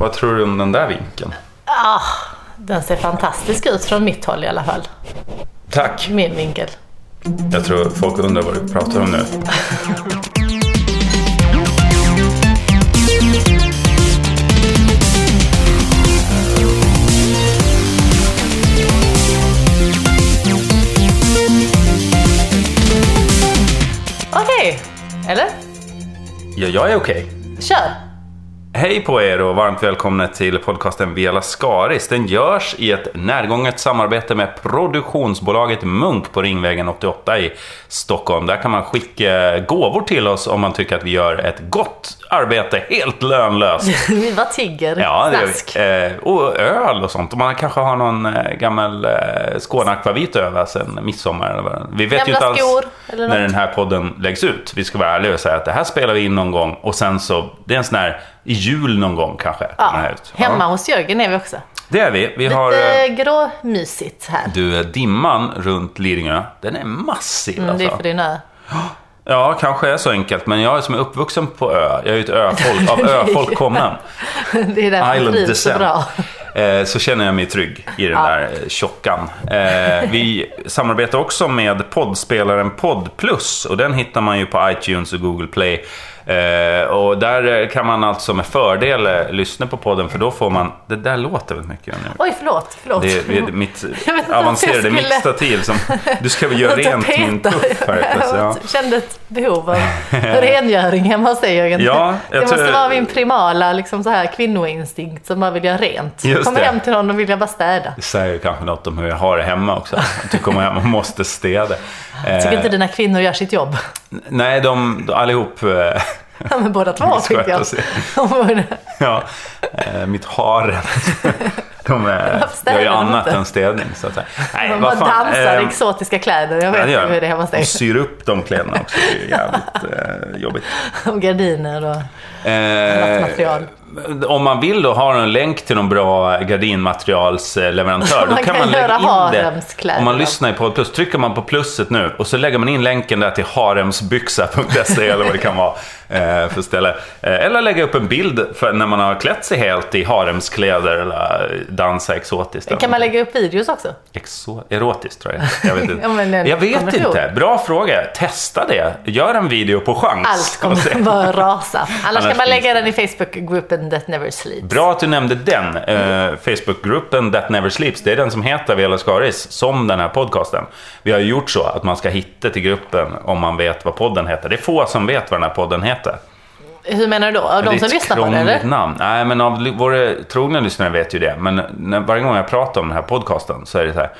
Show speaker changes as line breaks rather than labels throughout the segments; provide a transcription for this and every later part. Vad tror du om den där vinkeln?
Ah, den ser fantastisk ut från mitt håll i alla fall.
Tack!
Min vinkel.
Jag tror folk undrar vad du pratar om nu.
Okej, eller?
Ja, jag är okej.
Kör!
Hej på er och varmt välkomna till podcasten Vela Skaris. Den görs i ett närgånget samarbete med produktionsbolaget Munk på Ringvägen 88 i Stockholm. Där kan man skicka gåvor till oss om man tycker att vi gör ett gott arbete helt lönlöst.
Vi var tigger.
Ja, det gör
Snask.
vi. Eh, och öl och sånt. Och man kanske har någon eh, gammal eh, Skåne Akvavit över sen midsommar. eller vad. Vi vet ju inte
Gamla
alls
skor eller
när
något.
den här podden läggs ut. Vi ska vara ärliga och säga att det här spelar vi in någon gång och sen så, det är en sån här i jul någon gång kanske.
Ja,
kommer den här ut. Ja,
hemma hos Jörgen är vi också.
Det är vi. Vi har... eh,
Lite gråmysigt här.
Du, eh, dimman runt Lidingö, den är massiv
Mm, det är
alltså.
för din ö.
Ja, kanske är så enkelt. Men jag som är uppvuxen på ö, jag är ju ett öfolk, av öfolk kommen.
Det är därför
Island
det trivs så
descent.
bra.
Eh, Så känner jag mig trygg i den där eh, tjockan. Eh, Vi samarbetar också med poddspelaren Podplus och den hittar man ju på iTunes och Google Play. Eh, Och där eh, kan man alltså med fördel eh, lyssna på podden för då får man... Det där låter väldigt mycket nu.
Oj, förlåt. förlåt.
Det är, det är mitt
Jag vet inte om jag
avancerade
skulle-
mixtativ som... Du ska väl göra
Jag
rent min
petar.
puff här. alltså, ja.
Jag kände ett behov av rengöring hemma hos dig Jörgen.
Ja,
det
jag
måste
tror-
vara min primala liksom så här, kvinnoinstinkt som bara vill göra rent.
Just
Kommer
det.
hem till någon och vill jag bara städa.
Det säger ju kanske något om hur jag har det hemma också. Att du kommer hem och måste städa. Eh,
Tycker inte dina kvinnor gör sitt jobb?
Nej, de allihop... eh,
Ja, men båda två tycker jag.
Missköta sig.
De borde-
Ja, eh, mitt haren. De är,
städar
gör ju
de
annat
inte?
än städning så att säga. Nej,
De bara
vad fan,
dansar i
eh,
exotiska kläder. Jag
ja,
vet
det gör
ju hur det är hemma hos
de.
dig.
Och syr upp de kläderna också, det är ju jävligt eh, jobbigt.
Och gardiner och...
Eh,
material.
om man vill då ha en länk till någon bra gardinmaterialsleverantör, då
Man
kan,
kan
man lägga
göra
in det.
haremskläder.
Om man lyssnar på plus, trycker man på plusset nu och så lägger man in länken där till haremsbyxa.se eller vad det kan vara eh, för ställe. Eh, eller lägga upp en bild för när man har klätt sig helt i haremskläder eller eh, dansa exotiskt.
Kan man lägga upp videos också?
Exo- erotiskt tror jag. Jag vet inte.
Ja, men den
jag
kommer
vet
tro.
inte. Bra fråga. Testa det. Gör en video på chans.
Allt
och se.
kommer bara rasa. Annars, kan man
finns
lägga den i Facebookgruppen That Never Sleeps.
Bra att du nämnde den. Eh, Facebookgruppen That Never Sleeps, det är den som heter Vela Skaris, som den här podcasten. Vi har ju gjort så att man ska hitta till gruppen om man vet vad podden heter. Det är få som vet vad den här podden heter.
Hur menar du då? Av de
det är
som
ett
lyssnar på det
krångligt
eller?
namn. Nej, men av li- våra trogna lyssnare vet ju det. Men när, varje gång jag pratar om den här podcasten så är det så här.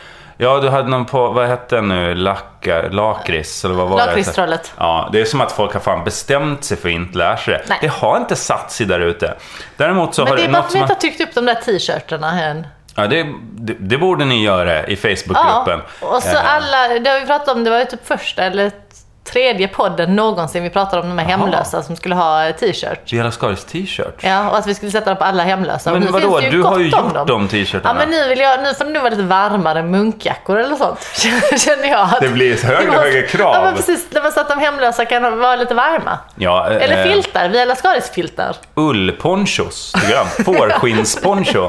Ja, du hade någon på, vad hette den nu, Lacka, Lakrits eller vad var
Lakritstrollet.
det? Ja, det är som att folk har fan bestämt sig för att inte lära sig det.
Nej.
Det har inte satt sig där ute. Däremot så
Men
har
det är bara för att vi
som
inte
har-
har tryckt upp de där t-shirtarna än.
Ja, det, det, det borde ni göra i Facebookgruppen.
och så
Eh,
alla, det har vi pratat om, det var ju typ första eller tredje podden någonsin vi pratade om de här hemlösa som skulle ha eh, t-shirt.
Vela Skaris t-shirt.
Ja, och att vi skulle sätta dem på alla hemlösa. Och
Men
nu
vadå,
finns det
du har ju
gott om
gjort
dem.
de t-shirtarna.
Ja men nu, vill jag, nu får det nog vara lite varmare munkjackor eller sånt. Känner jag. att-
Det blir ett högre och
Vi måste-
högre krav.
Ja men precis, när man så att de hemlösa kan vara lite varma.
Ja, eh,
Eller
eh,
filtar, vi alla filtar.
Ullponchos, tycker jag. Fårskinnsponcho.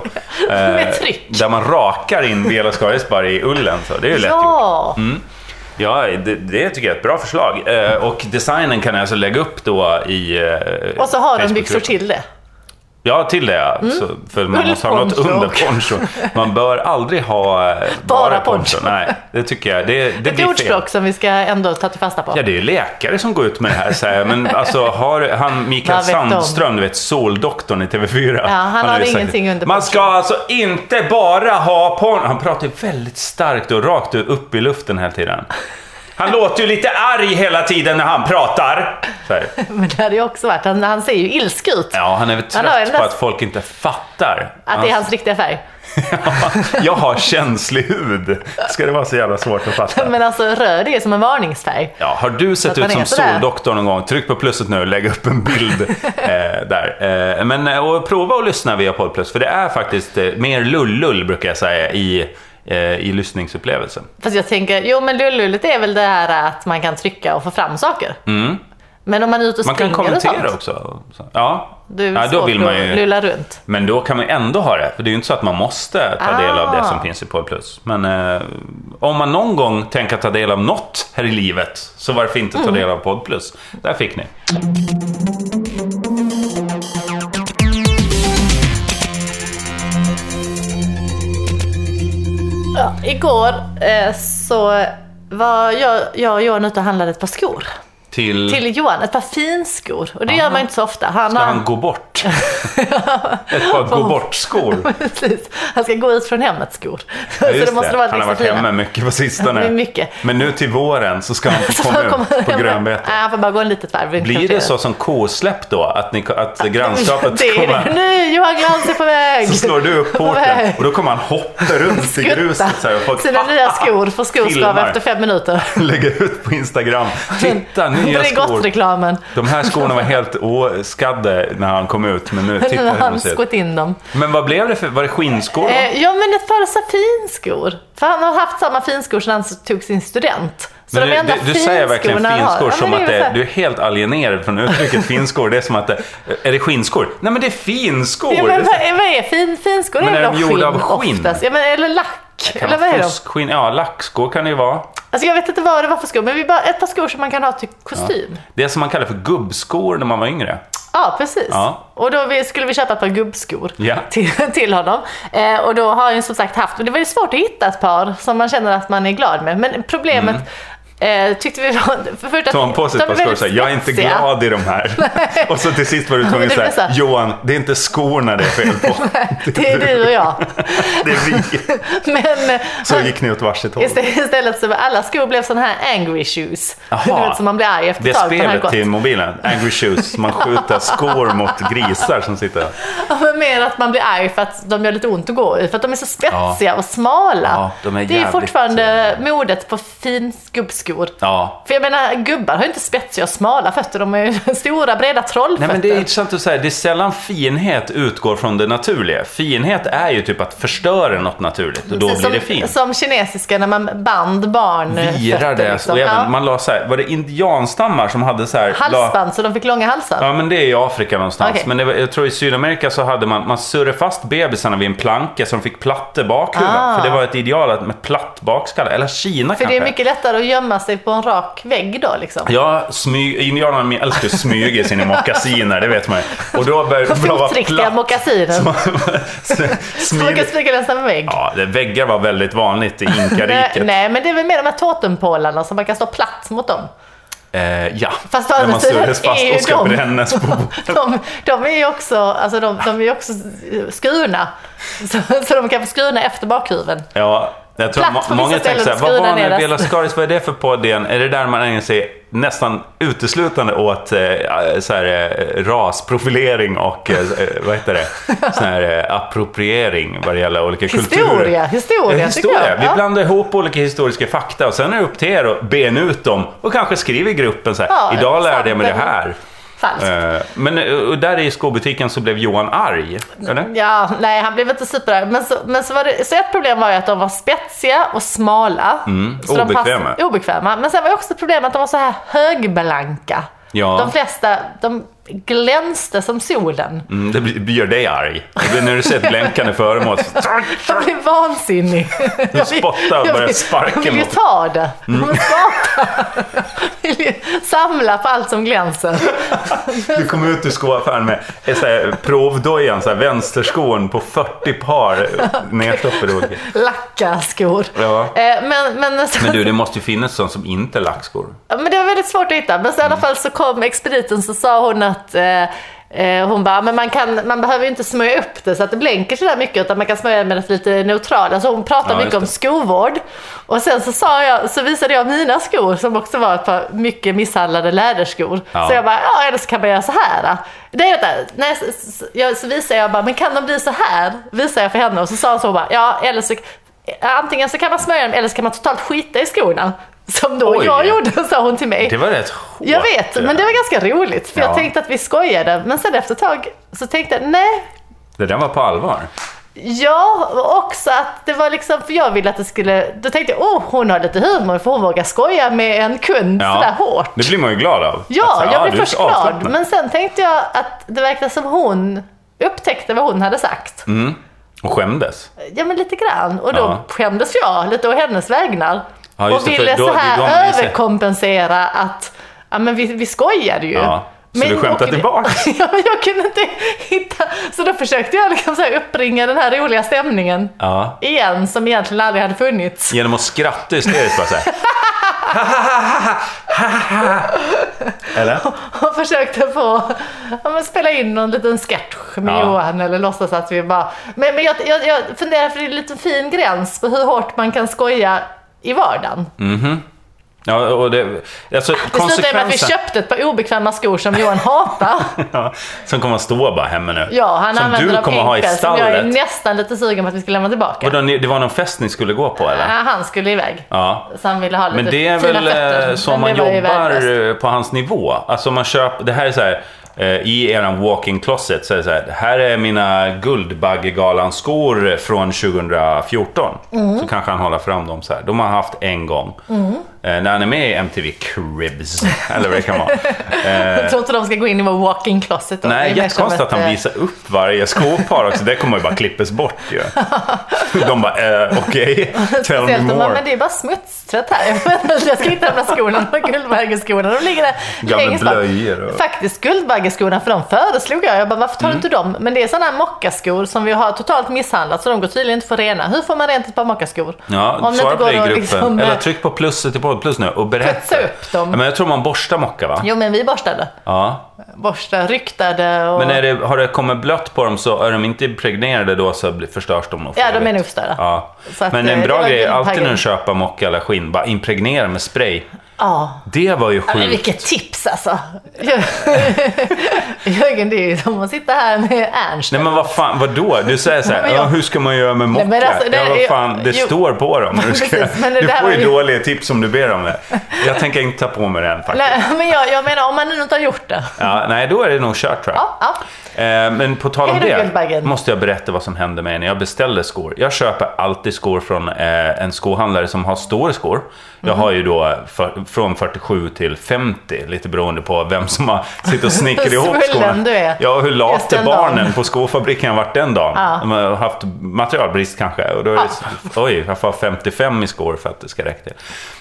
eh,
Med tryck.
Där man rakar in Vela Skaris bara i ullen. Så det är ju Mm. lätt gjort.
Ja!
Ja, det, det tycker jag är ett bra förslag. Eh, och designen kan jag alltså lägga upp då i eh,
Och så har de byxor
Facebookgruppen.
till det.
Ja, till det ja.
Mm.
Så, för man måste ha något
Ullponcho
under
också.
poncho. Man bör aldrig ha eh, bara,
Bara
poncho.
poncho.
Nej, det tycker jag. Det, det
Ett
blir fel.
ordspråk som vi ska ändå ta till fasta på.
Ja, det är läkare som går ut med det här. Så här men alltså, har han Mikael
Vad vet de?
Sandström, du vet soldoktorn i TV4.
han
har
har
ju sagt
ingenting
det.
under
Man
poncho."
ska alltså inte bara ha porn. Han pratar ju väldigt starkt och rakt upp i luften hela tiden. Han låter ju lite arg hela tiden när han pratar. Så här.
Men det hade ju också varit, han, han ser ju ilsk ut.
Ja, han är väl
Han har
trött
väl
på
näst-
att folk inte fattar.
Att det är hans riktiga färg.
Jag har känslig hud. Ska det vara så jävla svårt att fatta?
Men alltså röd är ju som en varningsfärg.
Ja, har du sett
att man
ut som
är sådär.
soldoktorn någon gång, tryck på plusset nu och lägg upp en bild eh, där. Eh, men eh, och prova att lyssna via poddplus, för det är faktiskt eh, mer lullull brukar jag säga i, eh, i lyssningsupplevelsen.
Fast jag tänker, jo men lullullet är väl det här att man kan trycka och få fram saker. Men om man är ute och
Mm. Man kan
springer och
kommentera
sånt,
också. Så, Ja,
då är det
ja
svårt
då vill man
att
ju...
lulla runt.
Men då kan man ju ändå ha det. För det är ju inte så att man måste ta del av det som
Ah.
finns i Podd Plus. Men eh, om man någon gång tänker ta del av något här i livet, så varför inte
Mm.
ta del av Podd Plus? Där fick ni.
Ja, igår eh, så var jag, jag och Johan ute och handlade ett par skor.
Till...
Till Johan, ett par finskor. Och det gör man inte så ofta. Han
Mm. Ska
har-
han gå bort? Ett par gå bort-skor.
Precis. Han ska gå ut från hemmet skor.
Ja,
så
just
det måste vara liksom
han har varit
extra fina.
hemma mycket på sistone.
Det är mycket.
Men nu till våren så ska han få
Så
komma
han kommer
ut på
hem.
grönbete.
Nej, han får bara gå en litet varv. runt
Blir det
kvarteret.
så som K-släpp då? Att, ni, att grannskapet
Det är det.
kommer...
Nu, Johan Glans är på väg!
Så slår du upp porten och då kommer han hoppa runt i
Skutta.
gruset så här, och folk
Sina nya skor får skoskav
Filmar.
efter fem minuter.
lägger ut på Instagram. Titta, nya skor.
Bregott-reklamen.
De här skorna var helt oskadda när han kom ut, men nu,
Nu
titta
har
hur de
han
ser ut.
skott in dem.
Men vad blev det för, var det skinnskor? då?
Eh, ja men ett par safinskor. För han har haft samma finskor sedan han tog sin student. Så
Men
de
du,
enda
du, du säger verkligen
finskorna han har-
finskor
Ja,
som
men
att
är väl
det,
så här-
du är helt alienerad från uttrycket finskor. Det är som att det, eh, är det skinnskor? Nej men det är finskor!
Ja,
Det
men
är
vad, vad är fin, finskor?
Men
är
är
väl
de gjorda av skinn?
oftast? Ja, men, eller lack?
kan
Eller vad
vara
är de?
fuskskinn, ja lackskor kan det ju vara.
Alltså, jag vet inte vad det var för skor, men vi bara, ett par skor som man kan ha till kostym. Ja,
Det är som man kallar för gubbskor när man var yngre.
precis.
Ja.
Och då vi, skulle vi köpa ett par gubbskor
Ja.
till, till honom. Eh, och då har han ju som sagt haft, och det var ju svårt att hitta ett par som man känner att man är glad med. Men problemet
Mm.
eh, tyckte vi var... För först att
Tog han på sig
de
ett par skor
är
och
väldigt
sa jag är inte
spetsiga."
glad i de här. och så till sist var du tvungen
men
att
det är
säga
så.
Johan, det är inte skorna det är fel på.
Det är du och jag.
det är vi.
Men eh,
Så gick ni åt varsitt håll.
Istä- Istället så var alla skor blev sådana här angry shoes. Du
Jaha.
vet som man blir arg efter
Det
ett
är
tag. för den här
spelet
gott.
till mobilen, Angry Shoes. Man skjuter skor mot grisar som sitter
Ja, men Mer att man blir arg för att de gör lite ont att gå i. För att de är så spetsiga och smala.
Ja, de är
det är ju
jävligt- eh,
fortfarande modet på fin gubbskor.
Ja.
För jag menar, gubbar har ju inte spetsiga och smala fötter. De har ju stora, breda trollfötter.
Nej men det är intressant att säga, det är sällan finhet utgår från det naturliga. Finhet är ju typ att förstöra något naturligt och då
Precis
blir det
som,
fint.
Som kinesiska när man band barn
Virar det,
liksom.
och
Ja.
även, man la så här, var det indianstammar som hade så här, la,
Halsband, så de fick långa halsar.
Ja men det är i Afrika någonstans.
Okej.
Men det var, jag tror i Sydamerika så hade man, man surrade fast bebisarna vid en planka så de fick platte bakhuvud.
Ah.
För det var ett ideal att med platt bakskalle. Eller Kina
För det
kanske.
är mycket lättare att gömma sig på en rak vägg då liksom.
Ja, smy, indianerna älskar ju smyga i sina mockasiner, det vet man ju. Och då började det vara
Fotriktiga
platt.
mockasiner. Som man kan
Smidigt.
spika längs en vägg.
Ja, det, väggar var väldigt vanligt i
Nej,
inkariket.
nej, men det är väl mer de här totempålarna som man kan stå platt mot dem.
Eh, ja,
Fast å
när
andra
man
sidan
surras fast
är ju
och ska
de-
brännas på
De, de är ju också, alltså de, de är ju också skurna. Så, så de kan få skurna efter bakhuven.
Ja, jag tror
Platt
må-
på vissa
många tänker
ställen,
såhär, vad
skruva
var nu
ner
Bela
resten."
Skaris, vad är det för podd igen? Är det där man ägnar sig nästan uteslutande åt eh, så här, eh, rasprofilering och eh, vad heter det? Så här, eh, appropriering vad det gäller olika kulturer?
Historia, historia,
Eh, Historia.
tycker
Vi
jag. Ja.
blandar ihop olika historiska fakta och sen är det upp till er att bena ut dem och kanske skriva i gruppen så här,
Ja,
idag lärde jag mig det
sant.
här.
Falskt.
Eh, Men eh, och där i skobutiken så blev Johan arg, eller?
Ja, nej han blev inte superarg. Men, så, men så, var det, så ett problem var ju att de var spetsiga och smala. så de
Mm, obekväma.
pass- obekväma. Men sen var ju också ett problem att de var så här högblanka.
Ja.
De flesta de glänste som solen.
Mm, det blir- gör dig arg. Det blir när du ser ett blänkande föremål. så-
Jag blev vansinnig. Jag vill-
spottar och
jag
börjar
vill-
sparka
Jag vill ju
mot- Mm.
ta det. Jag vill skapa. Jag vill ju samla på allt som glänser.
Du kom ut ur skoaffären med en sån här provdojan, så här vänsterskon på 40 par nedstoppade olika.
Lacka skor.
Ja.
Eh, Men, men, så,
Men
men,
du, det måste ju finnas sånt som inte är lackskor.
det var väldigt svårt att hitta. Men så i alla fall så kom expediten så sa hon att eh, eh, hon bara, men man, kan, man behöver ju inte smörja upp det så att det blänker sådär mycket utan man kan smörja med ett lite neutralt. Alltså hon pratade
Ja,
mycket om
just
skovård. Och sen så, sa jag, så visade jag mina skor som också var ett par mycket misshandlade läderskor.
Ja.
Så jag bara, ja eller så kan man göra så här. då." Det är detta. Nej, så, så, jag, så visade jag bara, men kan de bli så här? Visade jag för henne och så sa hon så hon bara, ja eller så eh, antingen så kan man smörja dem eller så kan man totalt skita i skorna. Som då
Oj.
jag gjorde, sa hon till mig.
Det var rätt hårt.
Jag vet, men det var ganska roligt. För
Ja.
jag tänkte att vi skojade, men sen efter ett tag så tänkte jag, nej,
Det där var på allvar.
Ja, och också att det var liksom, för jag ville att det skulle, då tänkte jag, oh hon har lite humor för hon vågar skoja med en kund sådär hårt.
Det blir man ju glad av. Att
Ja,
säga, "Ah,
jag
du Alltså, är
blev först
så avslappnad.
glad. Men sen tänkte jag att det verkade som hon upptäckte vad hon hade sagt.
Och skämdes.
Ja, men lite grann. Och då
Mm. Ja.
skämdes jag lite å hennes vägnar.
Ja, just
och
det, för
ville
då-
så
då har
här
man ju sett-
överkompensera att ja, men vi, vi skojade ju.
Ja, så du skämtade
och-
tillbaka.
ja, men jag kunde inte hitta... Så då försökte jag liksom så här uppringa den här roliga stämningen
Ja.
igen som egentligen aldrig hade funnits.
Genom att skratta hysteriskt bara såhär. Eller?
Och försökte få ja, men spela in någon liten sketch med
Ja.
Johan eller låtsas att vi bara... Men, men jag, jag, jag funderar för det är en liten fin gräns på hur hårt man kan skoja i vardagen.
Ja, och det, alltså
Det slutade med att vi
konsekvensen.
köpte ett par obekväma skor som Johan hatar.
Ja, som kommer att stå bara hemma nu.
Ja, han
typ. som
använder
du
dem
kommer att ha i
enkel, som jag är
stallet.
nästan lite sugen på att vi ska lämna tillbaka.
Vadå, ni- det var någon fest ni skulle gå på
Ja,
eller?
han skulle iväg.
Ja.
Så han ville ha lite
Men det är
Alltså, fina
väl
fötter.
eh, så
Men
man
det var ju
jobbar
värdelöst.
eh, på hans nivå. Alltså man köper, det här är så här, eh, i eran walk-in closet så är det så här, "Det här är mina Guldbaggegalan-skor från 2014.
Mm.
Så kanske han håller fram dem så här. De har han haft en gång. Eh, när han är med i MTV Cribs, eller vad det kan vara.
Jag tror inte de ska gå in i vår walk-in closet. Då.
Nej,
Det är mer som
jättekonstigt att
ett, eh,
han visar upp varje skopar också. Det kommer ju bara klippes bort ju. De bara, eh, okej, tell me
Speciellt om man,
more.
men det är bara smutstvätt här. Jag menar, Jag ska inte lämna skorna, de här Guldbaggeskorna. De ligger där
Gamla
längst bak.
blöjor och-
Faktiskt Guldbaggeskorna, för de föreslog jag. Jag bara, varför tar du inte dem? Men det är sådana här mockaskor som vi har totalt misshandlat, så de går tydligen inte för rena. Hur får man rent ett par mockaskor?
Ja, svara på det i gruppen.
liksom,
Eller
eh,
tryck på plusset i podd plus nu och berätta.
Putsa upp dem.
Ja, men jag tror man borstar mocka va?
Jo, men vi borstade.
Ja.
Borstade, ryktade och...
Men är det, har det kommit blött på dem så är de inte impregnerade då så blir- förstörs de nog. för
Ja, de är
evigt.
nog förstörda.
Ja.
Så att,
Men
eh,
en
det
bra
var
grej är
guldbaggen.
alltid när du köper mocka eller skinn, bara impregnera med spray.
Ja.
Det var ju
Ja, Men
sjukt.
vilket tips alltså! Jörgen, det är ju som att sitta här med Ernst.
Nej men vad fan, vadå? Du säger såhär,
men jag-
ja, hur ska man göra med mocka?
men alltså, det-
ja, vad fan, det
jo.
står på dem. Du, ska,
Precis, men det
du
där
får
var
ju
ju-
dåliga tips om du ber om det. Jag tänker inte ta på mig den faktiskt. Nej.
Nej, men jag, jag menar om man nu inte har gjort det.
Ja, nej, då är det nog kört tror jag.
Ja, ja.
Eh, Men på tal om
Hej då,
det
Guldbaggen.
måste jag berätta vad som hände mig när jag beställde skor. Jag köper alltid skor från eh, en skohandlare som har stora skor. Jag har ju då för, från 47 till 50, lite beroende på vem som har sittit och snickrat
Hur
ihop
svullen
skorna.
du är.
Ja, och hur
Just
lata
den dagen.
barnen på skofabriken har varit den dagen.
Ja.
De har haft materialbrist kanske. Och då är det, Oj, jag får ha 55 i skor för att det ska räcka till.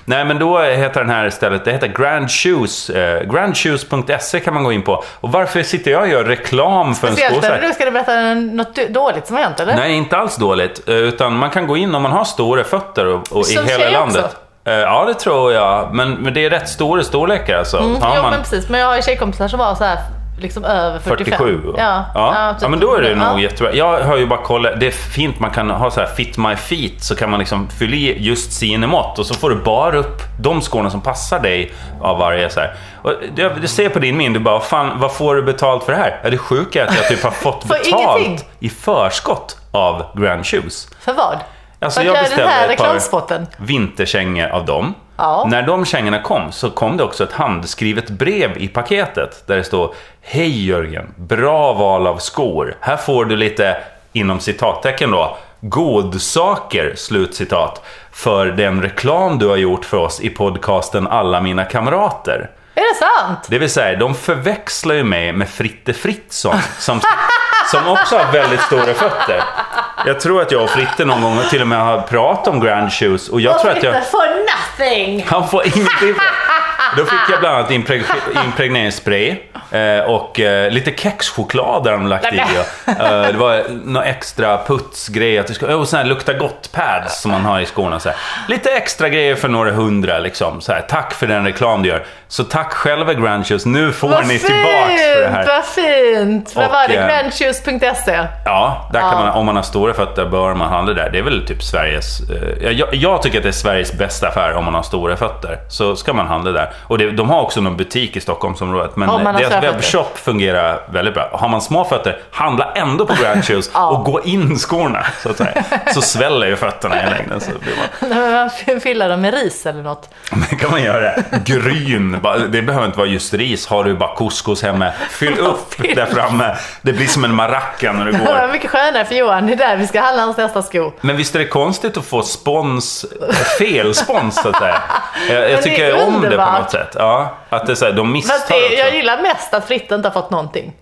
Nej, men då heter den här istället, det heter Grand Shoes. Eh, grandshoes.se kan man gå in på. Och varför sitter jag och gör reklam för en sko?
Speciellt
så här?
när du ska du berätta något du- dåligt som har hänt eller?
Nej, inte alls dåligt. Eh, Utan man kan gå in om man har stora fötter och, och i
Som
hela
tjej
landet.
också?
Eh, Ja, det tror jag. Men, men det är rätt stora storlekar alltså. Har
Mm. Jo
man-
men precis, men jag har ju tjejkompisar som var så här liksom över 45.
47.
Ja,
ja.
typ.
ja men då är det nog
Ja.
jättebra. Jag har ju bara kollat, det är fint man kan ha så här fit my feet så kan man liksom fylla i just sina mått och så får du bara upp de skorna som passar dig av varje så här. Och jag, jag ser på din min, du bara fan vad får du betalt för det här? Är det sjuka att jag typ har fått
För
betalt
ingenting.
i förskott av Grand Shoes?
För vad?
Alltså
Vad
jag
gör den
beställde
här
ett par-
reklamspotten?
vinterkängor av dem.
Ja.
När de kängorna kom så kom det också ett handskrivet brev i paketet där det står Hej Jörgen, bra val av skor. Här får du lite, inom citattecken då, godsaker, slutcitat, för den reklam du har gjort för oss i podcasten Alla mina kamrater.
Är det sant?
Det vill säga, de förväxlar ju mig med Fritte Fritzson som, som också har väldigt stora fötter. Jag tror att jag och Fritte någon gång till och med har pratat om grand shoes och jag tror att jag...
For nothing!
Han får ingenting för Då fick jag bland annat impreg- impregneringsspray eh, och eh, lite kexchoklad där de lagt i. och, Eh, det var någon extra putsgrej, att det ska, och sån här lukta gott-pads som man har i skorna. Så här. Lite extra grejer för några hundra liksom. Så här, tack för den reklam du gör. Så tack själva Grandchus, nu får
Vad
ni
fint,
tillbaks för det här.
vad fint! Vad
Och,
var det?
eh,
Grandshoes.se?
Ja, där kan man, om man har stora fötter bör man handla där. Det är väl typ Sveriges... Eh, jag, jag tycker att det är Sveriges bästa affär om man har stora fötter. Så ska man handla där. Och det, de har också någon butik i Stockholmsområdet, men
Om man har
deras
snöfötter.
webbshop fungerar väldigt bra. Har man små fötter, handla ändå på Branchos
Ja.
och gå in i skorna, så att säga. Så sväller ju fötterna i längden. Så blir man...
Nej, men man fyller dem med ris eller något.
Det kan man göra. Gryn. Bara- Det behöver inte vara just ris. Har du bara couscous hemma, fyll upp
Fyll.
där framme. Det blir som en maracka när du
Det var
går.
mycket skönare för Johan, det är där vi ska handla hans nästa sko.
Men visst är det konstigt att få spons, fel spons så att säga. Jag,
det är
jag tycker om det på
underbart.
något sätt. Ja, att det är så här, de misstar
Fast det, jag
också.
gillar mest att Fritte inte har fått någonting.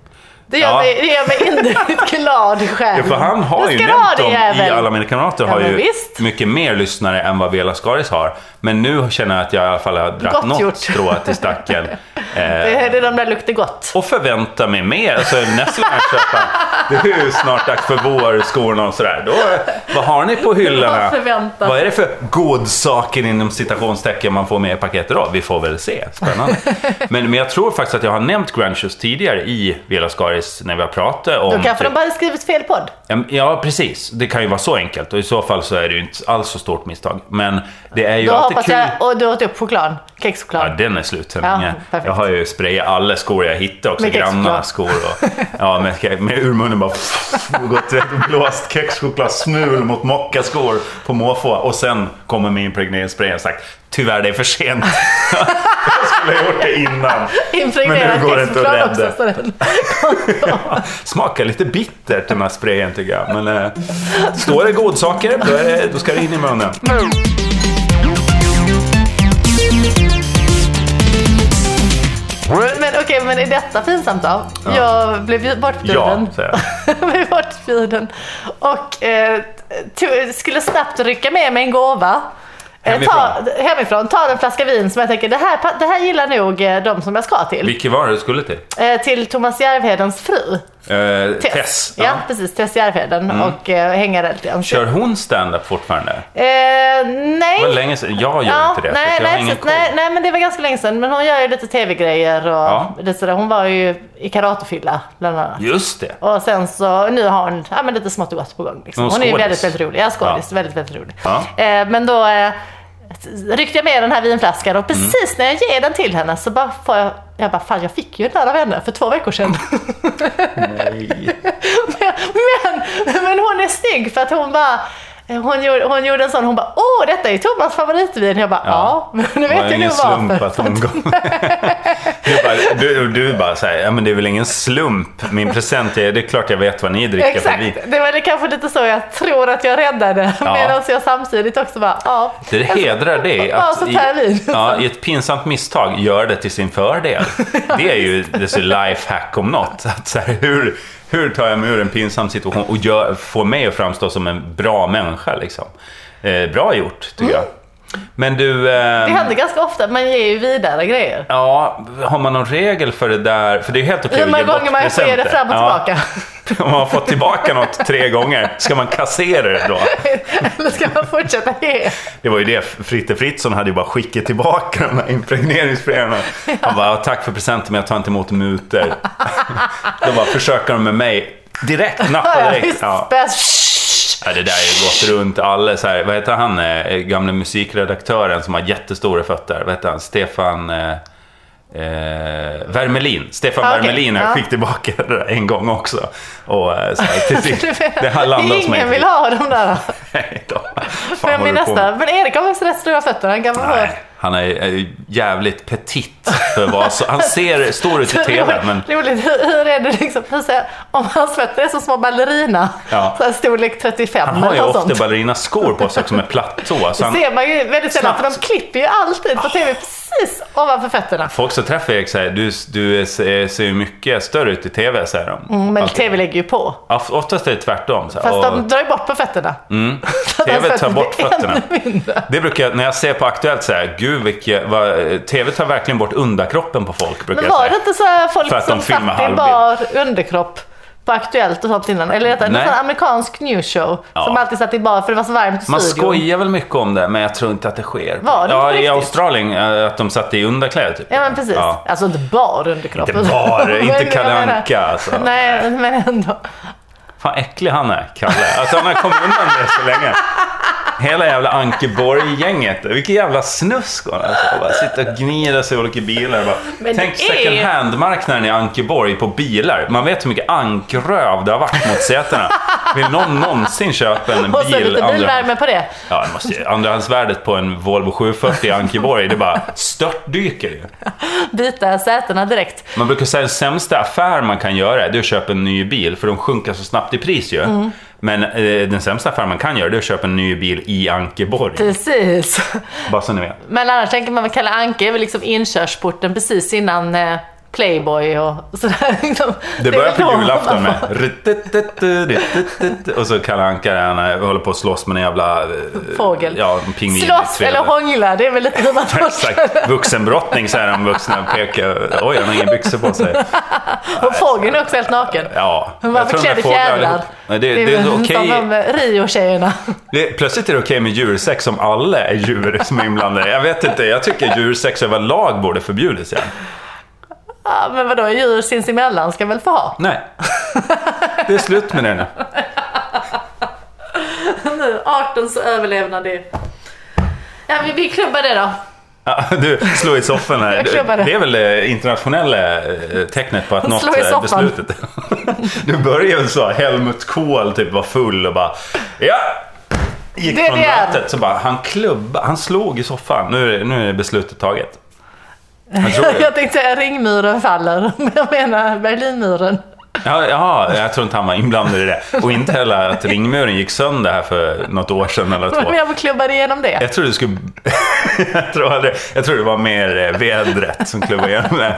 Det gör,
Ja.
mig, det gör mig innerligt glad i
Ja,
själen.
för han har
Nu
ju
ska du
nämnt
ha det,
dem i
jävel.
Alla mina kamrater har
men
ju
visst.
mycket mer lyssnare än vad Vela Skaris har. Men nu känner jag att jag i alla fall har dragit
Gott
något
gjort.
strå till stacken. Eh,
Det är de där luktar gott.
och förvänta mig mer. Alltså, nästa gång jag köper, det är ju snart dags för vårskorna och sådär. Då, vad har ni på hyllorna?
Vad förväntas?
Vad är det för godsaker inom citationstecken man får med i paketet då? Vi får väl se. Spännande. Men, men jag tror faktiskt att jag har nämnt Grunchus tidigare i Vela Skaris när vi har pratat om...
Då kanske
typ-
de bara skrivit fel podd.
Ja, men- Ja, precis. Det kan ju vara så enkelt. Och i så fall så är det ju inte alls så stort misstag. Men det är ju
Då
alltid
hoppas
kul.
jag, och du åt upp choklad, kexchoklad.
Ja, den är slut sen
Ja,
länge.
perfekt.
Jag har ju sprayat alla skor jag hittade också.
Med kexchoklad.
Grannarnas skor och... Ja, med, med ur munnen bara... Och gått och blåst kexchokladsmul mot mockaskor på måfå. Och sen kommer min impregneringsspray och sagt Tyvärr, det är för sent. jag skulle ha gjort det innan.
Impregnerat
Men nu går det inte att
kexchoklad
rädda.
också. så den-
Smakar lite bittert den här sprayen tycker jag. Men eh, står det godsaker, då, är det, då ska det in i munnen.
Men okej, men är detta pinsamt då? Jag blev bjud-
Ja,
bortbjuden.
säger jag.
blev bortbjuden. Och eh, to- skulle snabbt rycka med mig en gåva. Eh,
Hemifrån.
Ta, hemifrån. Ta en flaska vin som jag tänker, det här, pa- det här gillar nog eh, de som jag ska till.
Vilken var det du skulle till?
Eh, till Thomas Järvhedens fru.
Eh, Tess.
Ja,
Ja. Mm.
precis. Tess Järvheden och eh, hänga där lite grann.
Kör hon stand-up fortfarande?
Eh, nej.
Det var länge sedan. Jag gör
Ja,
inte det,
nej,
så jag har
nej,
ingen
så-
koll.
nej, nej, men det var ganska länge sedan. Men hon gör ju lite tv-grejer och
Ja.
lite sådär. Hon var ju i karatefylla bland annat.
Just det.
Och sen så, nu har hon ja, men lite smått och gott på gång. Liksom.
Hon
Hon,
är
är ju
skådis.
väldigt, väldigt rolig. Ja, skådis. Väldigt, väldigt rolig.
Ja.
Eh, men då eh, ryckte jag med den här vinflaskan och
Mm.
precis när jag ger den till henne så bara får jag, jag bara, fan jag fick ju den där av henne för två veckor sedan.
Nej.
men, men, men hon är snygg för att hon bara eh, hon gjorde, hon gjorde en sån, hon bara åh detta är ju Thomas favoritvin. Jag bara ja, men nu
Det var
vet jag
ingen
nog
slump
varför.
att hon kom. Du bara, du, du bara såhär, ja men det är väl ingen slump. Min present är, det är klart jag vet vad ni dricker för vin.
Exakt, det var väl kanske lite så jag tror att jag räddade.
Ja.
Medan jag samtidigt också bara ja.
Det hedrar dig
Ja,
att
så
i,
tar jag vin.
ja, i ett pinsamt misstag gör det till sin fördel. Det är ju dess lifehack om något. Att så här, hur, hur tar jag mig ur en pinsam situation och gör, får mig att framstå som en bra människa? Liksom. Eh, bra gjort, tycker jag. Men du...
Mm. Det
ehm,
händer ganska ofta, man ger ju vidare grejer.
Ja, har man någon regel för det där? För det är ju helt okej
Hur många
att ge bort
gånger man får ge det
presenter.
fram och
Ja.
tillbaka.
Om man har fått tillbaka något tre gånger, ska man kassera det då?
Eller ska man fortsätta ge?
Det var ju det, Fritte Fritzson hade ju bara skickat tillbaka de här impregneringspremierna. Han bara, "Ja, tack för presenten men jag tar inte emot mutor. Då bara, försöker de med mig direkt, nappa
Ja,
direkt.
visst,
Ja.
spär-
Ja, det där har ju gått runt alla, så här, vad heter han, eh, gamle musikredaktören som har jättestora fötter? Vad heter han? Stefan... Eh, eh, Wermelin. Stefan
Ah, okej.
Wermelin har
Ja.
skickat tillbaka det där en gång också. Och eh, så här, till sist, det här landade hos mig.
Ingen vill ha de där.
Nej då. Fan,
Men,
håller
min
du på med?
nästa. men Erik har också rätt stora fötter. Han kan vara
Nej, han är, är jävligt petit. För att vara så, han ser stor ut i TV, men
Roligt, hur, hur är det liksom, hur ser, om hans fötter är som små ballerina,
Ja.
så här storlek 35
han har ju
eller något
ofta
sånt.
ballerinaskor på sig också med plattå. Så
Det
han,
ser man ju väldigt sällan, för de
Snabbt. Ah.
klipper ju alltid på TV precis ovanför fötterna.
folk som träffar Erik säger du, du är, ser ju mycket större ut i TV, säger de.
Mm, Men
Alltid.
TV lägger ju på.
Ja, Oftast är det tvärtom. Så här,
Fast
och-
de drar ju bort på fötterna. Så att hans
TV tar
fötter
bort
blir
fötterna.
ännu mindre.
Det brukar jag, när jag ser på Aktuellt säga, gud vilket, vad, TV tar verkligen bort underkroppen på folk. Brukar
Men
jag
var det
säga.
inte så här
För
folk
att
som
de filmar
satt i
halvbild.
bar underkropp på Aktuellt och sånt innan? Eller detta, en
Nej.
sån amerikansk newsshow
Ja.
som alltid satt i bar för det var så varmt i
Man
studion.
skojar väl mycket om det, men jag tror inte att det sker.
Var det
ja,
inte
i
riktigt?
Australien, eh, att de satt i underkläder typ.
Ja men precis.
Ja.
Alltså inte bar underkropp.
Inte bar,
Men
inte
jag
Kalle
menar-
Anka, alltså.
Nej men ändå.
Alltså, Fan äcklig han är, Kalle. Att han har kommit undan med det så länge. Hela jävla Ankeborg-gänget. Vilket jävla snusk hon alltså. Bara sitta och gnida sig i olika bilar. Bara.
Men det
Tänk
är-
second hand-marknaden i Ankeborg på bilar. Man vet hur mycket ankröv det har varit mot sätena. Vill någon någonsin köpa en
Och så
bil?
lite
andra-
bilvärme på det.
Ja, det måste, ju- andrahandsvärdet på en Volvo 740 i Ankeborg, det bara störtdyker ju.
Byta sätena direkt.
Man brukar säga att den sämsta affär man kan göra är att köpa en ny bil, för de sjunker så snabbt i pris ju.
Mm.
Men eh, den sämsta affär man kan göra det är att köpa en ny bil i Ankeborg.
Precis.
Bara så ni vet.
Men annars tänker man väl Kalle Anka är väl liksom inkörsporten precis innan eh, Playboy och sådär. liksom.
Det
är
börjar
väl
på
då
julafton
man
med
får-
"Rutututu, rutututu", och så Kalle Anka där, han håller på att slåss med en jävla eh,
Fågel.
Ja, en pingvin.
Slåss eller hångla, det är väl lite hur man tolkar
Exakt. Vuxenbrottning säger de vuxna och pekar. Oj, han har inga byxor på sig.
Och fågeln är också helt naken.
Ja.
Hon
jag
var
tror de
förklädd
där
i
fåglarna
fjädrar.
allihop- Nej, Det, det, är
väl
okej.
som de eh, Rio-tjejerna.
Det, plötsligt är det okej med djursex om alla är djur som är inblandade. Jag vet inte, jag tycker djursex överlag borde förbjudas igen.
Ja, men vadå, djur sinsemellan ska väl få ha?
Nej. Det är slut med det nu.
Nu, artens överlevnad är... Ja, vi, vi klubbar det då.
Ja, du, slå i soffan här.
Jag klubbade.
Det är väl det internationella eh, tecknet på att något
Slå i
är
soffan.
beslutet. Du börjar ju så, Helmut Kohl typ var full och bara ja! Gick
Det är
från
det.
mötet så bara, han klubba, han slog i soffan. Nu är, det- nu är beslutet taget. Jag tror det.
Jag tänkte säga ringmuren faller, men jag menar Berlinmuren.
Ja, jaha, jag tror inte han var inblandad i det. Och inte heller att ringmuren gick sönder här för något år sedan eller två.
Men jag klubbade igenom det.
Jag tror du skulle... jag, tror aldrig... jag tror det var mer eh, vädret som klubbade igenom det.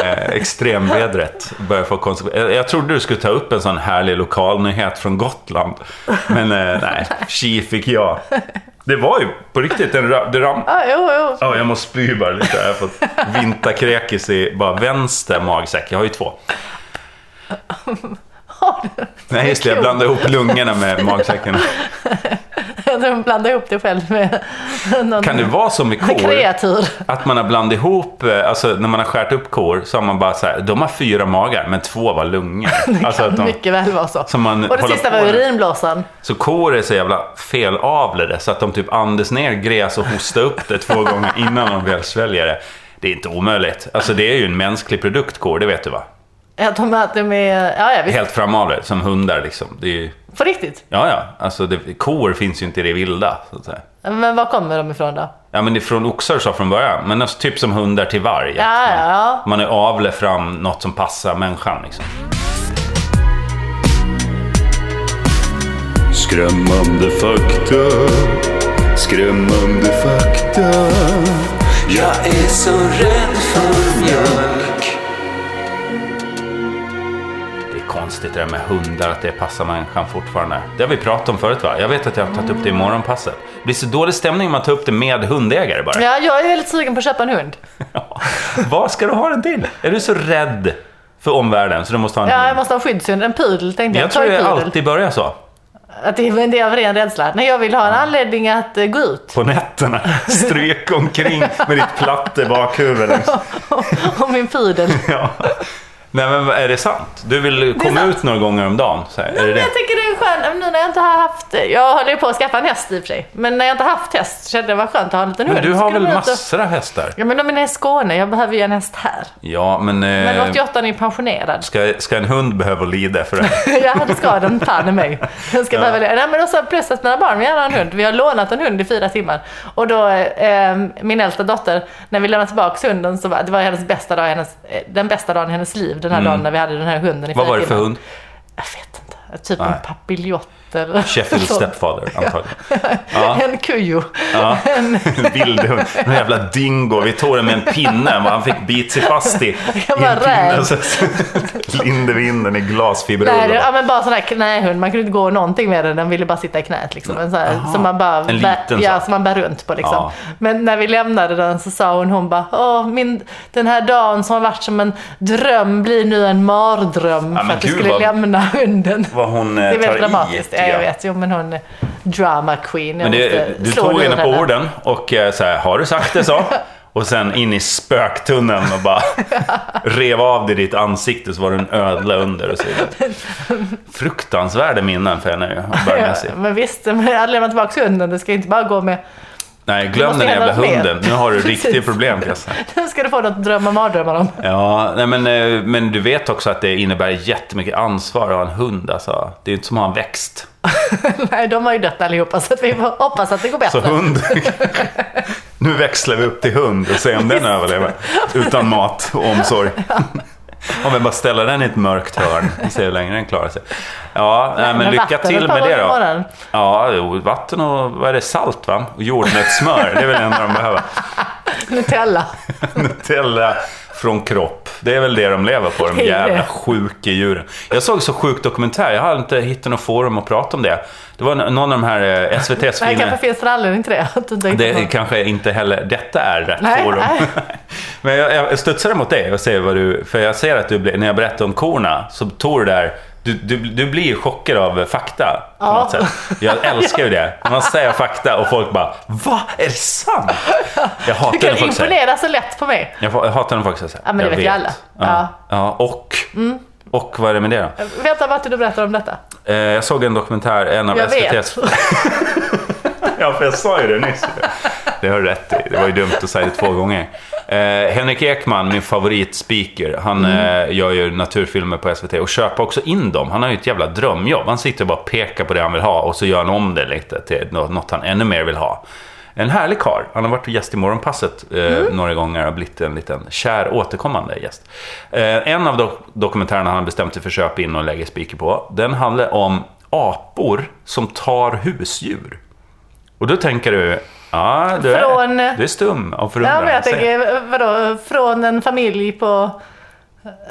Eh, extremvädret börjar få konsekvenser. Jag, jag trodde du skulle ta upp en sån härlig lokalnyhet från Gotland. Men eh, nej, tji fick jag. Det var ju på riktigt en ra- det ram...
Ja, jo, jo.
Ja, jag måste spy bara lite. Jag har fått vinterkräkis i bara vänster magsäck. Jag har ju två.
Har du?
Nej, just det. Jag
Kul.
blandade ihop lungorna med magsäcken.
Jag tror de blandade ihop det själv med någon
Kan det vara som med kor?
kreatur.
Att man har blandat ihop, eh, alltså när man har skärt upp kor så har man bara så här, de har fyra magar men två var lungor. Alltså att de,
Mycket väl var så.
som man
Och det
håller
sista
på
var
med.
urinblåsan.
så kor är så jävla felavlade så att de typ andas ner gräs och hostar upp det två gånger innan de väl sväljer det. Det är inte omöjligt. Alltså det är ju en mänsklig produkt kor, det vet du va?
Att de att de är, ja, ja visst.
Helt framavlade, som hundar liksom. Det är ju,
På riktigt.
ja ja, alltså det, kor finns ju inte i det vilda. Så att säga.
Men var kommer de ifrån då?
Ja men det är från oxar sa från början, men alltså, typ som hundar till varg.
Ja, ja, ja.
Man är avle fram något som passar människan. Liksom.
Skrämmande fakta Skrämmande fakta Jag är så rädd för mjölk
Det är konstigt det där med hundar, att det passar människan fortfarande. Det har vi pratat om förut va? Jag vet att jag har tagit upp det i morgonpasset. Det blir så dålig stämning om man tar upp det med hundägare bara.
Ja, jag är väldigt sugen på att köpa en hund.
Vad ska du ha den till? Är du så rädd för omvärlden så du måste ha en
Ja, jag
hund?
måste ha en skyddshund. En pudel tänkte jag.
Jag tror
Ta en
jag
pudel.
alltid börjar så.
Att det är en del av ren rädsla. Nej, jag vill ha en anledning att eh, gå ut.
På nätterna. Stryk omkring med ditt platte bakhuvud. längs-
Och min pudel.
liksom. Ja. Nej men är det sant? Du vill komma
sant.
ut några gånger om dagen? Så här. är det
Men
det?
jag tycker det är skönt, nu när jag inte har haft, jag håller ju på att skaffa en häst i och för sig, men när jag inte haft häst kände jag det var skönt att ha en liten
Men
hund.
du
Så
har
skulle
väl
man ut och-
massor av hästar?
Ja men de är i Skåne, jag behöver ju en häst här.
Ja, men...
Men
eh,
88 är ju pensionerad.
ska, ska en hund behöva lida för det?
ja det ska den fan i mig. Den ska
Ja.
behöva det. Nej, men också plus att mina barn vill gärna ha en hund. Vi har lånat en hund i fyra timmar. Och då, eh, min äldsta dotter, när vi lämnade tillbaka hunden så var det var hennes bästa dag, i hennes, eh, den bästa dagen i hennes liv. Den här dagen när vi hade den här hunden i
Mm. Vad
fyra
var det för
timmar.
hund?
Jag vet inte. Typ
Nej.
en papillott eller
Sheffield
sånt.
Stepfather, antagligen.
En kujo.
Ja. En vild hund. En jävla dingo. Vi tog den med en pinne. och Han fick bit sig fast i, i
Jag
en
var
pinne.
rädd.
Så linde vi in den i
Nej,
glasfiberrulle.
det, ja, men bara sån här knähund. Man kunde inte gå någonting med den. Den ville bara sitta i knät. Liksom. En sån här, som man bara
En liten
bär, ja,
sån.
som man bär runt på. Liksom.
Ja.
Men när vi lämnade den så sa hon, hon bara, Åh, min, den här dagen som har varit som en dröm blir nu en mardröm
Ja, men
för att vi
gud,
skulle
vad-
lämna hunden.
Vad hon eh,
Det är
tar
väldigt
i,
dramatiskt. Ja,
tycker
jag vet. Jo, men hon är drama queen. Jag
Men det,
måste
du
slå
tog
luren
henne på
här.
orden och eh, så här, har du sagt det så? Och sen in i spöktunneln och bara rev av dig ditt ansikte så var det en ödla under och så vidare. Fruktansvärda minnen för henne ju, börjmässigt.
Men visst, men att lämna tillbaka hunden, det ska ju inte bara gå med...
Nej, glöm
måste
den
hända
jävla
något mer.
hunden. Nu har du riktiga
Precis.
problem kan jag säga.
Nu ska du få något att drömma mardrömmar om.
Ja, nej men, eh, men du vet också att det innebär jättemycket ansvar att ha en hund. Alltså. Det är ju inte som att ha en växt.
Nej, de har ju dött allihopa, så att vi får hoppas att det går
Så
bättre.
hund... nu växlar vi upp till hund och ser om den överlever. Utan mat och omsorg. Om vi bara ställer den i ett mörkt hörn och ser hur länge den klarar sig. Ja, nej, men lycka
vatten
till
ett par
med det
gånger i
då.
månaden.
Ja, jo, vatten och vad är det, salt va? Och jordnötssmör, det är väl det enda de behöver.
Nutella.
Nutella från kropp. Det är väl det de lever på,
Det
de
är
jävla
det.
sjuka djuren. Jag såg så sjuk dokumentär, jag har inte hittat något forum att prata om det. Det var någon av de här eh, SVT's
Nej,
fina...
kanske finns det en anledning till det. att du tänkte
Det
på.
är kanske inte heller, detta är rätt
Nej,
forum.
nej.
Men jag, jag studsade mot dig och säger vad du, för jag ser att du, blir- när jag berättar om korna, så tog du där, du, du, du blir chockad av fakta på
Ja.
något sätt. Jag älskar ju det. När man säger fakta och folk bara Va? Är det sant? Jag hatar
Du
när
kan
folk säger
imponera så lätt på mig.
jag fa- jag hatar när folk säger såhär.
Ja, men det
jag
vet ju alla.
Ja.
Ja. Mm.
Ja, och, och vad är det med det då?
Vänta, Martin, du berättar om detta.
Eh, jag såg en dokumentär, en av
Jag vet.
SVT's... ja, för jag sa ju det nyss. Det har du rätt i. Det var ju dumt att säga det två gånger. Eh, Henrik Ekman, min favoritspeaker, han eh, gör ju naturfilmer på SVT och köper också in dem. Han har ju ett jävla drömjobb. Han sitter och bara pekar på det han vill ha och så gör han om det lite till nå- något han ännu mer vill ha. En härlig karl. Han har varit gäst i Morgonpasset eh, några gånger och blivit en liten kär återkommande gäst. Eh, en av dok- dokumentärerna han bestämt sig för att köpa in och lägga speaker på, den handlar om apor som tar husdjur. Och då tänker du, ja du,
Från-
är, du är stum av förundran.
Ja, men jag
Säg.
tänker, vadå, från en familj på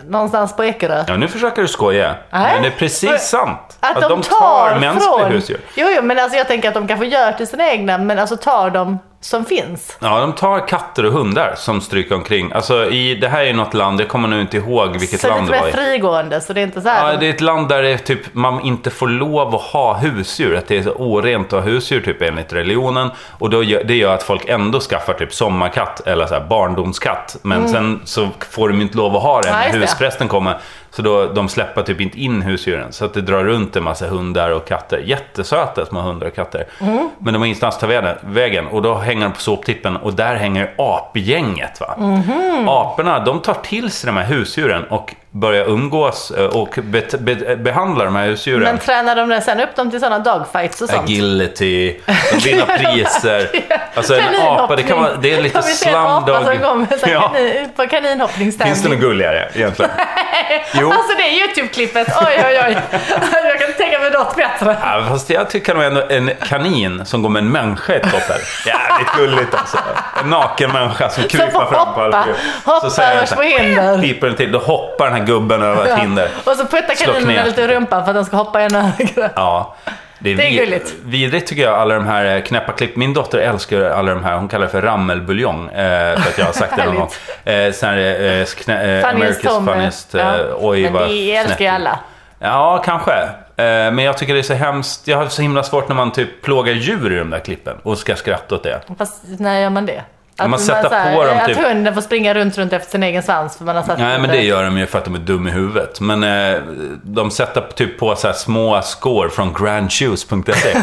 någonstans på Ekerö.
ja, nu försöker du skoja,
Nej.
men det är precis
Men-
sant.
Att, de, tar,
mänskliga
från...
husdjur.
Jo, jo, men alltså jag tänker att de kanske gör till sina egna, men alltså tar de som finns.
Ja, de tar katter och hundar som stryker omkring. Alltså, i, det här är ju något land, jag kommer nu inte ihåg vilket
så
land
lite
det var
mer
i.
frigående, så det är inte så här.
Ja, det är ett land där det är typ, man inte får lov att ha husdjur. Att det är så orent att ha husdjur typ, enligt religionen. Och då gör, det gör att folk ändå skaffar typ sommarkatt eller så här barndomskatt. Men sen så får de ju inte lov att ha det
Mm. Ja,
när
just det.
husprästen kommer. Så då, de släpper typ inte in husdjuren. Så att det drar runt en massa hundar och katter. Jättesöta små hundar och katter.
Mm.
Men de har ingenstans att ta vägen- vägen. Och då hänger de på soptippen och där hänger apgänget.
Mm.
Va? Aporna de tar till sig de här husdjuren och börjar umgås eh, och bet- be- behandla de här husdjuren.
Men tränar de det sen upp dem till sådana dogfights och sånt?
Agility, de vinner priser. Alltså en
Kaninhoppning.
apa, det, kan vara, det är lite
Om vi ser en
slumdog.
apa som kommer så här
Ja.
kanin, på kaninhoppningstävling.
Finns det något gulligare egentligen? Jo.
Alltså det är YouTube-klippet, oj oj oj. jag kan tänka mig något bättre.
Ja, fast jag tycker nog ändå en kanin som går med en människa i toppen. Jävligt gulligt alltså. En naken människa som kryper
får
fram på
hoppa.
alla fyra.
Hoppa
Så säger den så här,
över hinder.
Piper den till, då hoppar den här gubben över ett hinder.
Och så puttar
Slå knät.
kaninen lite i rumpan för att den ska hoppa ännu högre.
Ja. Det är,
Det är
vid-
gulligt.
Vidrigt tycker jag, alla de här eh, knäppa klipp. Min dotter älskar ju alla de här, hon kallar det för rammelbuljong. Eh, för att jag har sagt det någon gång.
Härligt.
Eh, sen är det eh, knä, eh,
Funniest
America's
Tommy.
funniest. Eh,
Ja.
Oj,
Men
vad
det älskar ju
snett.
alla.
Ja, kanske. Eh, Men jag tycker det är så hemskt. Jag har så himla svårt när man typ plågar djur i de där klippen och ska skratta åt det.
Fast när gör man det? Att,
man sätter
så här, eh,
på dem
att
typ-
hunden får springa runt, runt efter sin egen svans för man har satt
Nej, men
lite-
det gör de ju för att de är dum i huvudet. Men eh, de sätter typ på så här små skor från grandshoes.se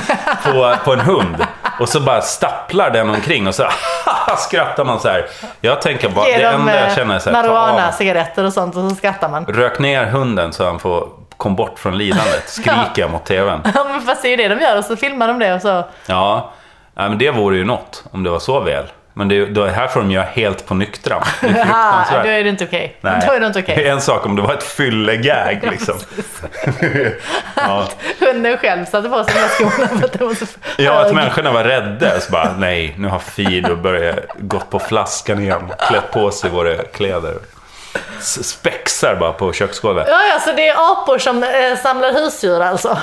på, på en hund. Och så bara stapplar den omkring och så skrattar man så här. Jag tänker bara,
Ge
det
dem
enda jag
eh,
känner är så här, ta av.
marijuana, cigaretter och sånt och så skrattar man.
Rök ner hunden så han får kom bort från lidandet, skriker jag mot TVn.
Ja, men fast det är ju det de gör och så filmar de det och så.
Ja, nej, men det vore ju något om det var så väl. Men det, då, här får de göra helt på nyktra. Det är
Ah,
fruktansvärt.
då är det inte okej. Då är det inte
Det
okej.
är en sak om det var ett fyllegag liksom. ja.
Hunden själv satte på sig de här skorna för att den var så
ja, att
hög.
människorna var rädda. Så bara, nej, nu har Fido börjat gått på flaskan igen. Klätt på sig våra kläder. S- Spexar bara på köksgolvet.
Ja, ja, så det är apor som eh, samlar husdjur alltså.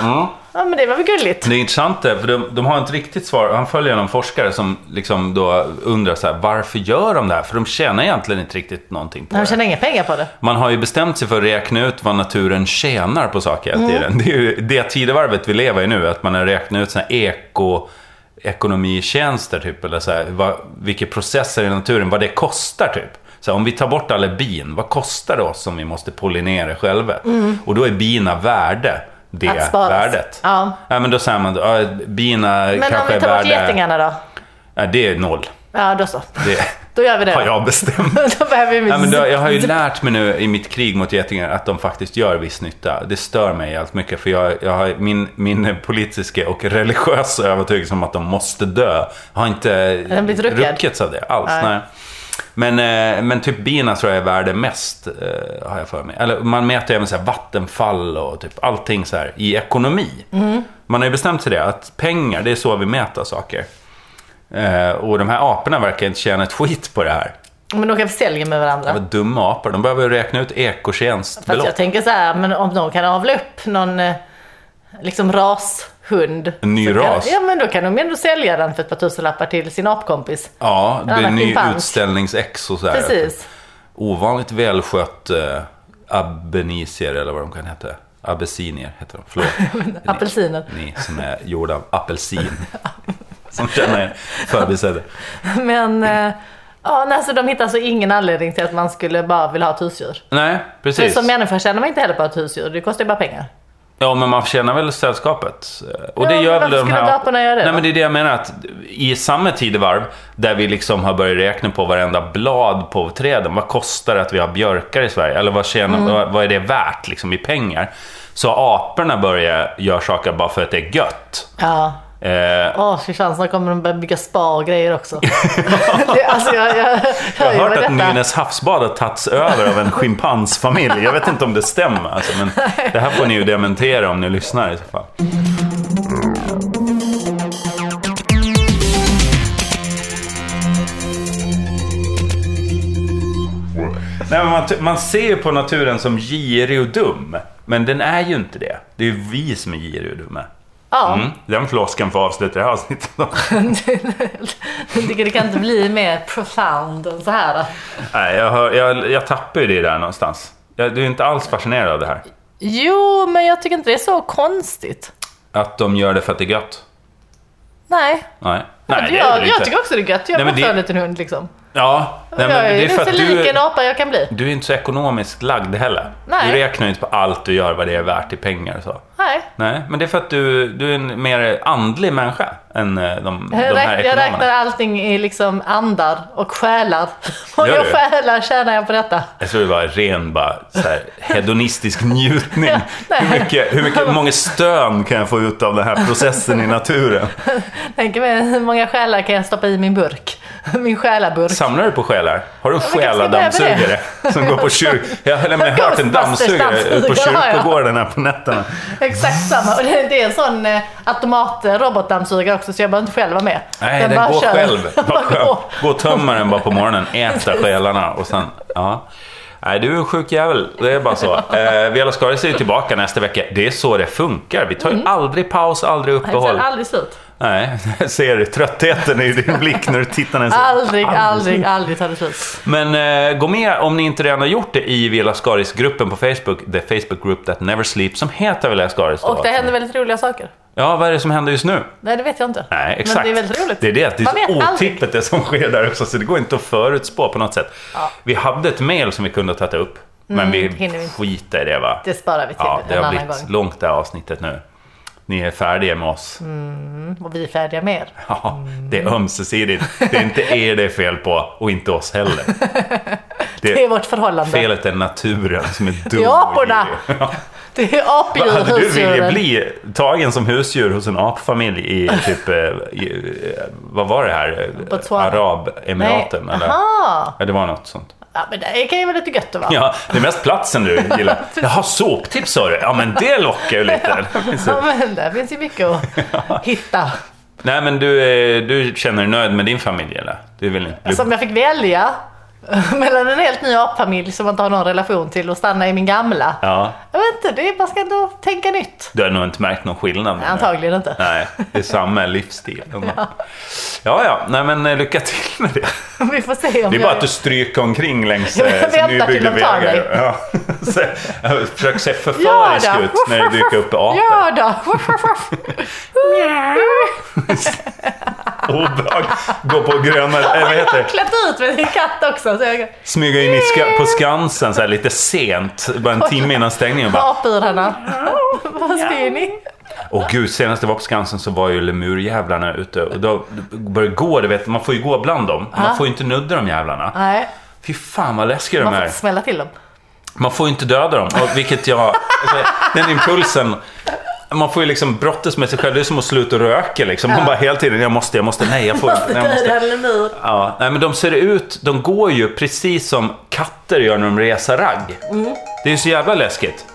Ja, men det var väl gulligt.
Det är intressant det, för de, de har inte riktigt svar. Han följer någon forskare som liksom då undrar så här, varför gör de det här? För de tjänar egentligen inte riktigt någonting på
De
det.
tjänar inga pengar på det.
Man har ju bestämt sig för att räkna ut vad naturen tjänar på saker hela tiden. Det är ju det tidevarvet vi lever i nu, att man har räknat ut sådana eko ekonomitjänster typ, eller så här, vad, vilka processer i naturen, vad det kostar typ. Så här, om vi tar bort alla bin, vad kostar det oss om vi måste pollinera själva? Och då är bina värde det
Att sparas.
värdet.
Ja.
men då säger man, ja, bina
Men om
kanske
vi tar
är
bort
värde...
getingarna då?
Ja, det är noll.
Ja, då så.
Det
Då gör vi det.
har jag bestämt.
då behöver vi
Ja, men då, jag har ju lärt mig nu i mitt krig mot getingar att de faktiskt gör viss nytta. Det stör mig allt mycket för jag, jag har min, min politiska och religiösa övertygelse om att de måste dö. Jag har inte
den blivit ruckad?
ruckats av det alls. Nej.
Nej.
Men, eh, men typ bina tror jag är värde mest, eh, har jag för mig. Eller man mäter även så här vattenfall och typ allting så här i ekonomi. Man har ju bestämt sig det, att pengar, det är så vi mäter saker. Eh, och de här aporna verkar inte tjäna ett skit på det här.
Men de kan sälja med varandra.
Vad dumma apor, de behöver räkna ut
Fast
ekotjänstbelopp.
jag tänker så här, men om de kan avla upp någon eh, liksom rashund.
En ny
så kan,
ras.
Ja, men då kan de ändå sälja den för ett par tusenlappar till sin apkompis.
Ja, det blir
annan
ny
schimpans.
utställningsex och sådär.
Precis.
Ovanligt välskött eh, abenisier eller vad de kan heta. Abessinier heter de, förlåt.
Apelsiner.
Ni som är gjorda av apelsin. som känner er förbisedda.
Men eh, ja, nej, så de hittar alltså ingen anledning till att man skulle bara vilja ha ett husdjur.
Nej,
För
precis.
som människa tjänar man inte heller på ett husdjur, det kostar ju bara pengar.
Ja, men man känner väl sällskapet. Eh, Och
Ja,
det
men
gör väl
varför
de
skulle
här...
inte aporna göra det
Nej,
då?
men det är det jag menar. Att I samma tidevarv, där vi liksom har börjat räkna på varenda blad på träden. Vad kostar det att vi har björkar i Sverige? Eller vad, tjänar,
Mm.
vad, vad är det värt liksom, i pengar? Så aporna börjar göra saker bara för att det är gött.
Ja.
Eh,
Åh, fy fan, snart kommer de börja bygga spa och grejer också. det, alltså, jag, jag,
jag
hör
har
ju vad
hört att
detta-
Nynäs havsbad har tagits över av en schimpansfamilj. Jag vet inte om det stämmer. Alltså, men det här får ni ju dementera om ni lyssnar i så fall. Nej, men man, man ser ju på naturen som girig och dum. Men den är ju inte det. Det är ju vi som är giriga och dumma.
Ja.
Mm, den flosken får avsluta det här avsnittet.
jag tycker det kan inte bli mer profound än så här.
Nej, jag, hör, jag, jag tappar ju det där någonstans. Jag, du är inte alls fascinerad av det här?
Jo, men jag tycker inte det är så konstigt.
Att de gör det för att det är gött?
Nej,
Nej.
jag,
Nej, det är det
jag,
ju inte.
tycker också det är gött.
Nej,
Jag
men
vill
det-
också en liten hund liksom.
Ja, nej, men
jag
det är för
så
att
lik en
du,
apa jag kan bli.
du är inte så ekonomiskt lagd heller.
Nej.
Du räknar ju inte på allt du gör, vad det är värt i pengar och så.
Nej.
Nej, men det är för att du, du är en mer andlig människa än eh, de, de
Jag,
här
räknar, jag räknar
ekonomerna.
allting i liksom andar och själar. Och
Gör
jag
du?
själar tjänar jag på detta.
Jag tror det var ren bara, så här, hedonistisk njutning.
Ja, nej.
hur, mycket, hur mycket, hur många stön kan jag få ut av den här processen i naturen?
Tänk mig hur många själar kan jag stoppa i min burk? Min själaburk.
Samlar du på själar? Har du en
men kanske
själadammsugare som går på kyrk... Jag har nämligen hört en dammsugare ute på
Ghostbusters-dammsugare har jag.
kyrkogården här på nätterna.
Exakt samma. Och det, det är en sån eh, automatrobotdammsugare också så jag behöver inte själv vara med.
Nej, den,
bara
går
kör.
själv.
Den
Vad
bara
skönt.
går.
Gå och tömma den bara på morgonen, äta själarna och sen... Ja. Nej, du är en sjuk jävel. Det är bara så. Eh, Vela Skaris är ju tillbaka nästa vecka. Det är så det funkar. Vi tar ju aldrig paus, aldrig
Det Mm. tar
uppehåll.
aldrig slut.
Nej, jag ser tröttheten i din blick när du tittar ner.
Aldrig, aldrig, aldrig tar det slut.
Men eh, gå med om ni inte redan har gjort det i Vela Skaris-gruppen på Facebook, the Facebook group that never sleeps, som heter Vela Skaris. då,
Och det
alltså.
händer väldigt roliga saker.
Ja, vad är det som händer just nu?
Nej, det vet jag inte.
Nej, exakt.
Men det är väldigt roligt.
Det är det, det
Man
är
vet
så
aldrig.
otippat det som sker där också, så det går inte att förutspå på något sätt.
Ja. Mm,
Vi hade ett mail som vi kunde ha tagit upp, men
hinner vi
vi
inte.
skiter i det va?
Det sparar vi till
ja, det
en
har
annan
blivit
gång.
långt det här avsnittet nu. Ni är färdiga med oss.
Mm. Och vi är färdiga med er.
Ja, det är ömsesidigt. Det är inte er det är fel på och inte oss heller.
Det är vårt förhållande.
Felet är naturen som är dum.
Det är aporna.
och girig. Ja.
Det är apdjur,
Hade du velat
husdjuren.
bli tagen som husdjur hos en apfamilj i typ, eh, i, eh, vad var det här? Eh,
Botswana.
Arabemiraten eller?
Aha.
Ja, det var något sånt.
Ja, men det kan ju vara lite gött att vara.
Ja, det är mest platsen du gillar. Jaha, soptips sa du? Ja, men det lockar ju lite.
Ja, men där finns ju mycket att hitta.
Nej, men du, eh, du känner dig nöjd med din familj eller? Du vill inte bli...
Som jag fick välja mellan en helt ny apfamilj som man inte har någon relation till och stanna i min gamla.
Ja,
Jag vet inte, det är, man ska ändå tänka nytt.
du har nog inte märkt någon skillnad. nu.
Antagligen inte.
Nej, det är samma livsstil. Ja, ja, nej men eh, lycka till med det.
Vi får se om
Det är
jag...
bara att du stryker omkring längs
Ja, men jag
eh,
väntar
nybyggda
till de tar
vägar.
mig.
Ja. Så, eh, Försök se förförisk
Ja då.
ut när det dyker upp apor.
Ja då!
obehag. Gå på gröna, eh, vad
Jag
heter
har
det?
klätt ut med din katt också. Så jag
Smyga in i ska- på Skansen så här lite sent, bara en timme innan stängningen. Bara,
apor henne. Vad ska ni?
Åh gud, senast jag var på Skansen så var ju lemurjävlarna ute och då började det gå, du vet, man får ju gå bland dem. Man får ju inte nudda de jävlarna.
Nej,
Fy fan vad läskiga
man
de
får
är.
inte smälla till dem.
Man får ju inte döda dem, och vilket jag... Alltså, den impulsen. Man får ju liksom brottas med sig själv. Det är som att sluta röka liksom. Man bara hela tiden, jag måste, jag måste, nej jag får inte. Nej, jag måste.
Döda en lemur.
Ja, nej men de ser ut, de går ju precis som katter gör när de reser ragg.
Mm.
Det är ju så jävla läskigt.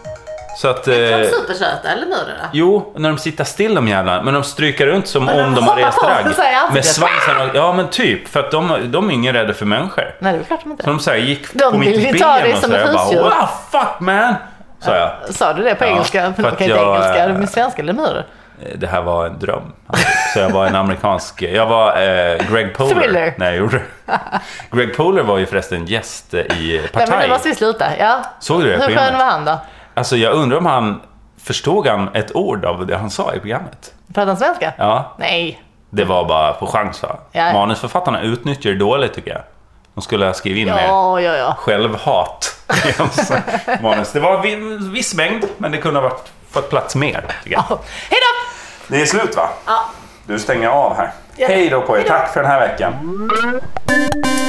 Så att...
De
Eh,
supersöta lemurer.
jo, när de sitter still de jävlarna, men de stryker runt som
de
om de har
hoppar
rest
på
ragg.
sig i ansiktet.
Med svansen och, Ja men typ, för att de, de är ju inga rädda för människor.
Nej, det är klart de inte
Så de så här, gick
De
på
vill
mitt
ju
ben
ta dig
och
som
så här,
ett
jag bara
husdjur.
wow, fuck man! Sa jag.
Sa du det på
Ja,
engelska?
för
För de
att
kan inte
jag,
engelska,
eh,
de är svenska lemurer.
Det här var en dröm. Alltså, Så jag var en amerikansk... Jag var eh, Greg Poler.
Thriller.
Nej, jag gjorde Greg Poler var ju förresten gäst i
Nej, men nu
Partaj.
måste vi sluta. Ja.
Såg du det
Hur skön
programmet?
var han då?
Alltså jag undrar om han... Förstod han ett ord av det han sa i programmet?
Pratade han svenska?
Ja,
Nej.
det var bara på chans va?
Ja.
Manusförfattarna utnyttjar det dåligt tycker jag. De skulle ha skrivit in mer
Ja, ja, ja.
självhat i hans manus. Det var en viss mängd, men det kunde ha varit, fått plats mer. Tycker jag.
Hej då!
Det är slut va?
Ja.
Du stänger av här.
Ja.
Hej då på er.
Hej då.
Tack för den här veckan.